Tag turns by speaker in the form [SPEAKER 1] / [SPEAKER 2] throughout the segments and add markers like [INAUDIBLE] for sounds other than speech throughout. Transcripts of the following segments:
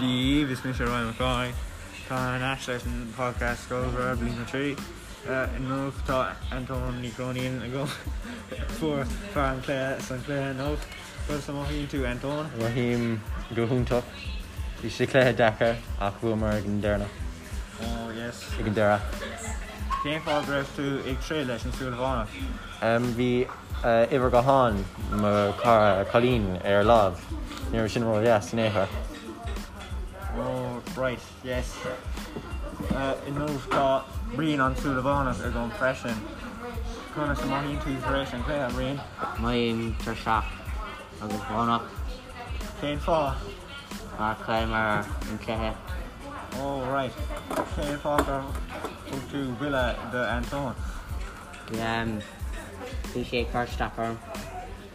[SPEAKER 1] the this is Ryan McCoy. Con Ashton podcast goes where being a tree. Uh, enough to Anton Niconi in the goal [LAUGHS] for Fran Claire Sinclair enough. For some of you to Anton.
[SPEAKER 2] Raheem Gohunta, i siclé Dakar ach bhfuil mar an déna
[SPEAKER 1] Oh yes.
[SPEAKER 2] ag an deire.
[SPEAKER 1] Came for breath to a trail and Sulvana.
[SPEAKER 2] Um, Bhí ihar go háin mar car cholín ar láb níor sin roiil yes néair.
[SPEAKER 1] Oh right, yes. Uh, enough to Breen on Sulvana are going pressing. Con some of you to Grace and Claire Breen.
[SPEAKER 3] Maim tar seach agus bhnach
[SPEAKER 1] Came for
[SPEAKER 3] mar chuimar an chluthe
[SPEAKER 1] All right. Shane Parker took to Villa de Anton.
[SPEAKER 3] Bhí sé carstapar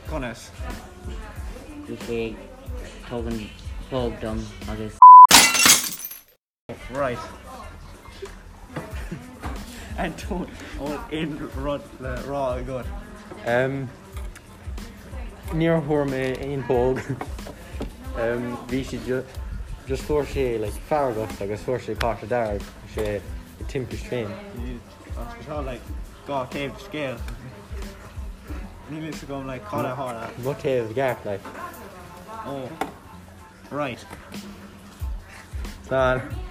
[SPEAKER 1] Connors.
[SPEAKER 3] bhí sé tugan fógdom agus
[SPEAKER 1] Right. Anton all in rod the raw good.
[SPEAKER 2] Níor thuair mé aon bóg bhí si just fuair sé le feargat agus fuair sé cá deir sé timpis féin.
[SPEAKER 1] Hospital like got cave scale. He needs to go like Connor Horner.
[SPEAKER 2] Mu éh gap le
[SPEAKER 1] Oh. Right.
[SPEAKER 2] ná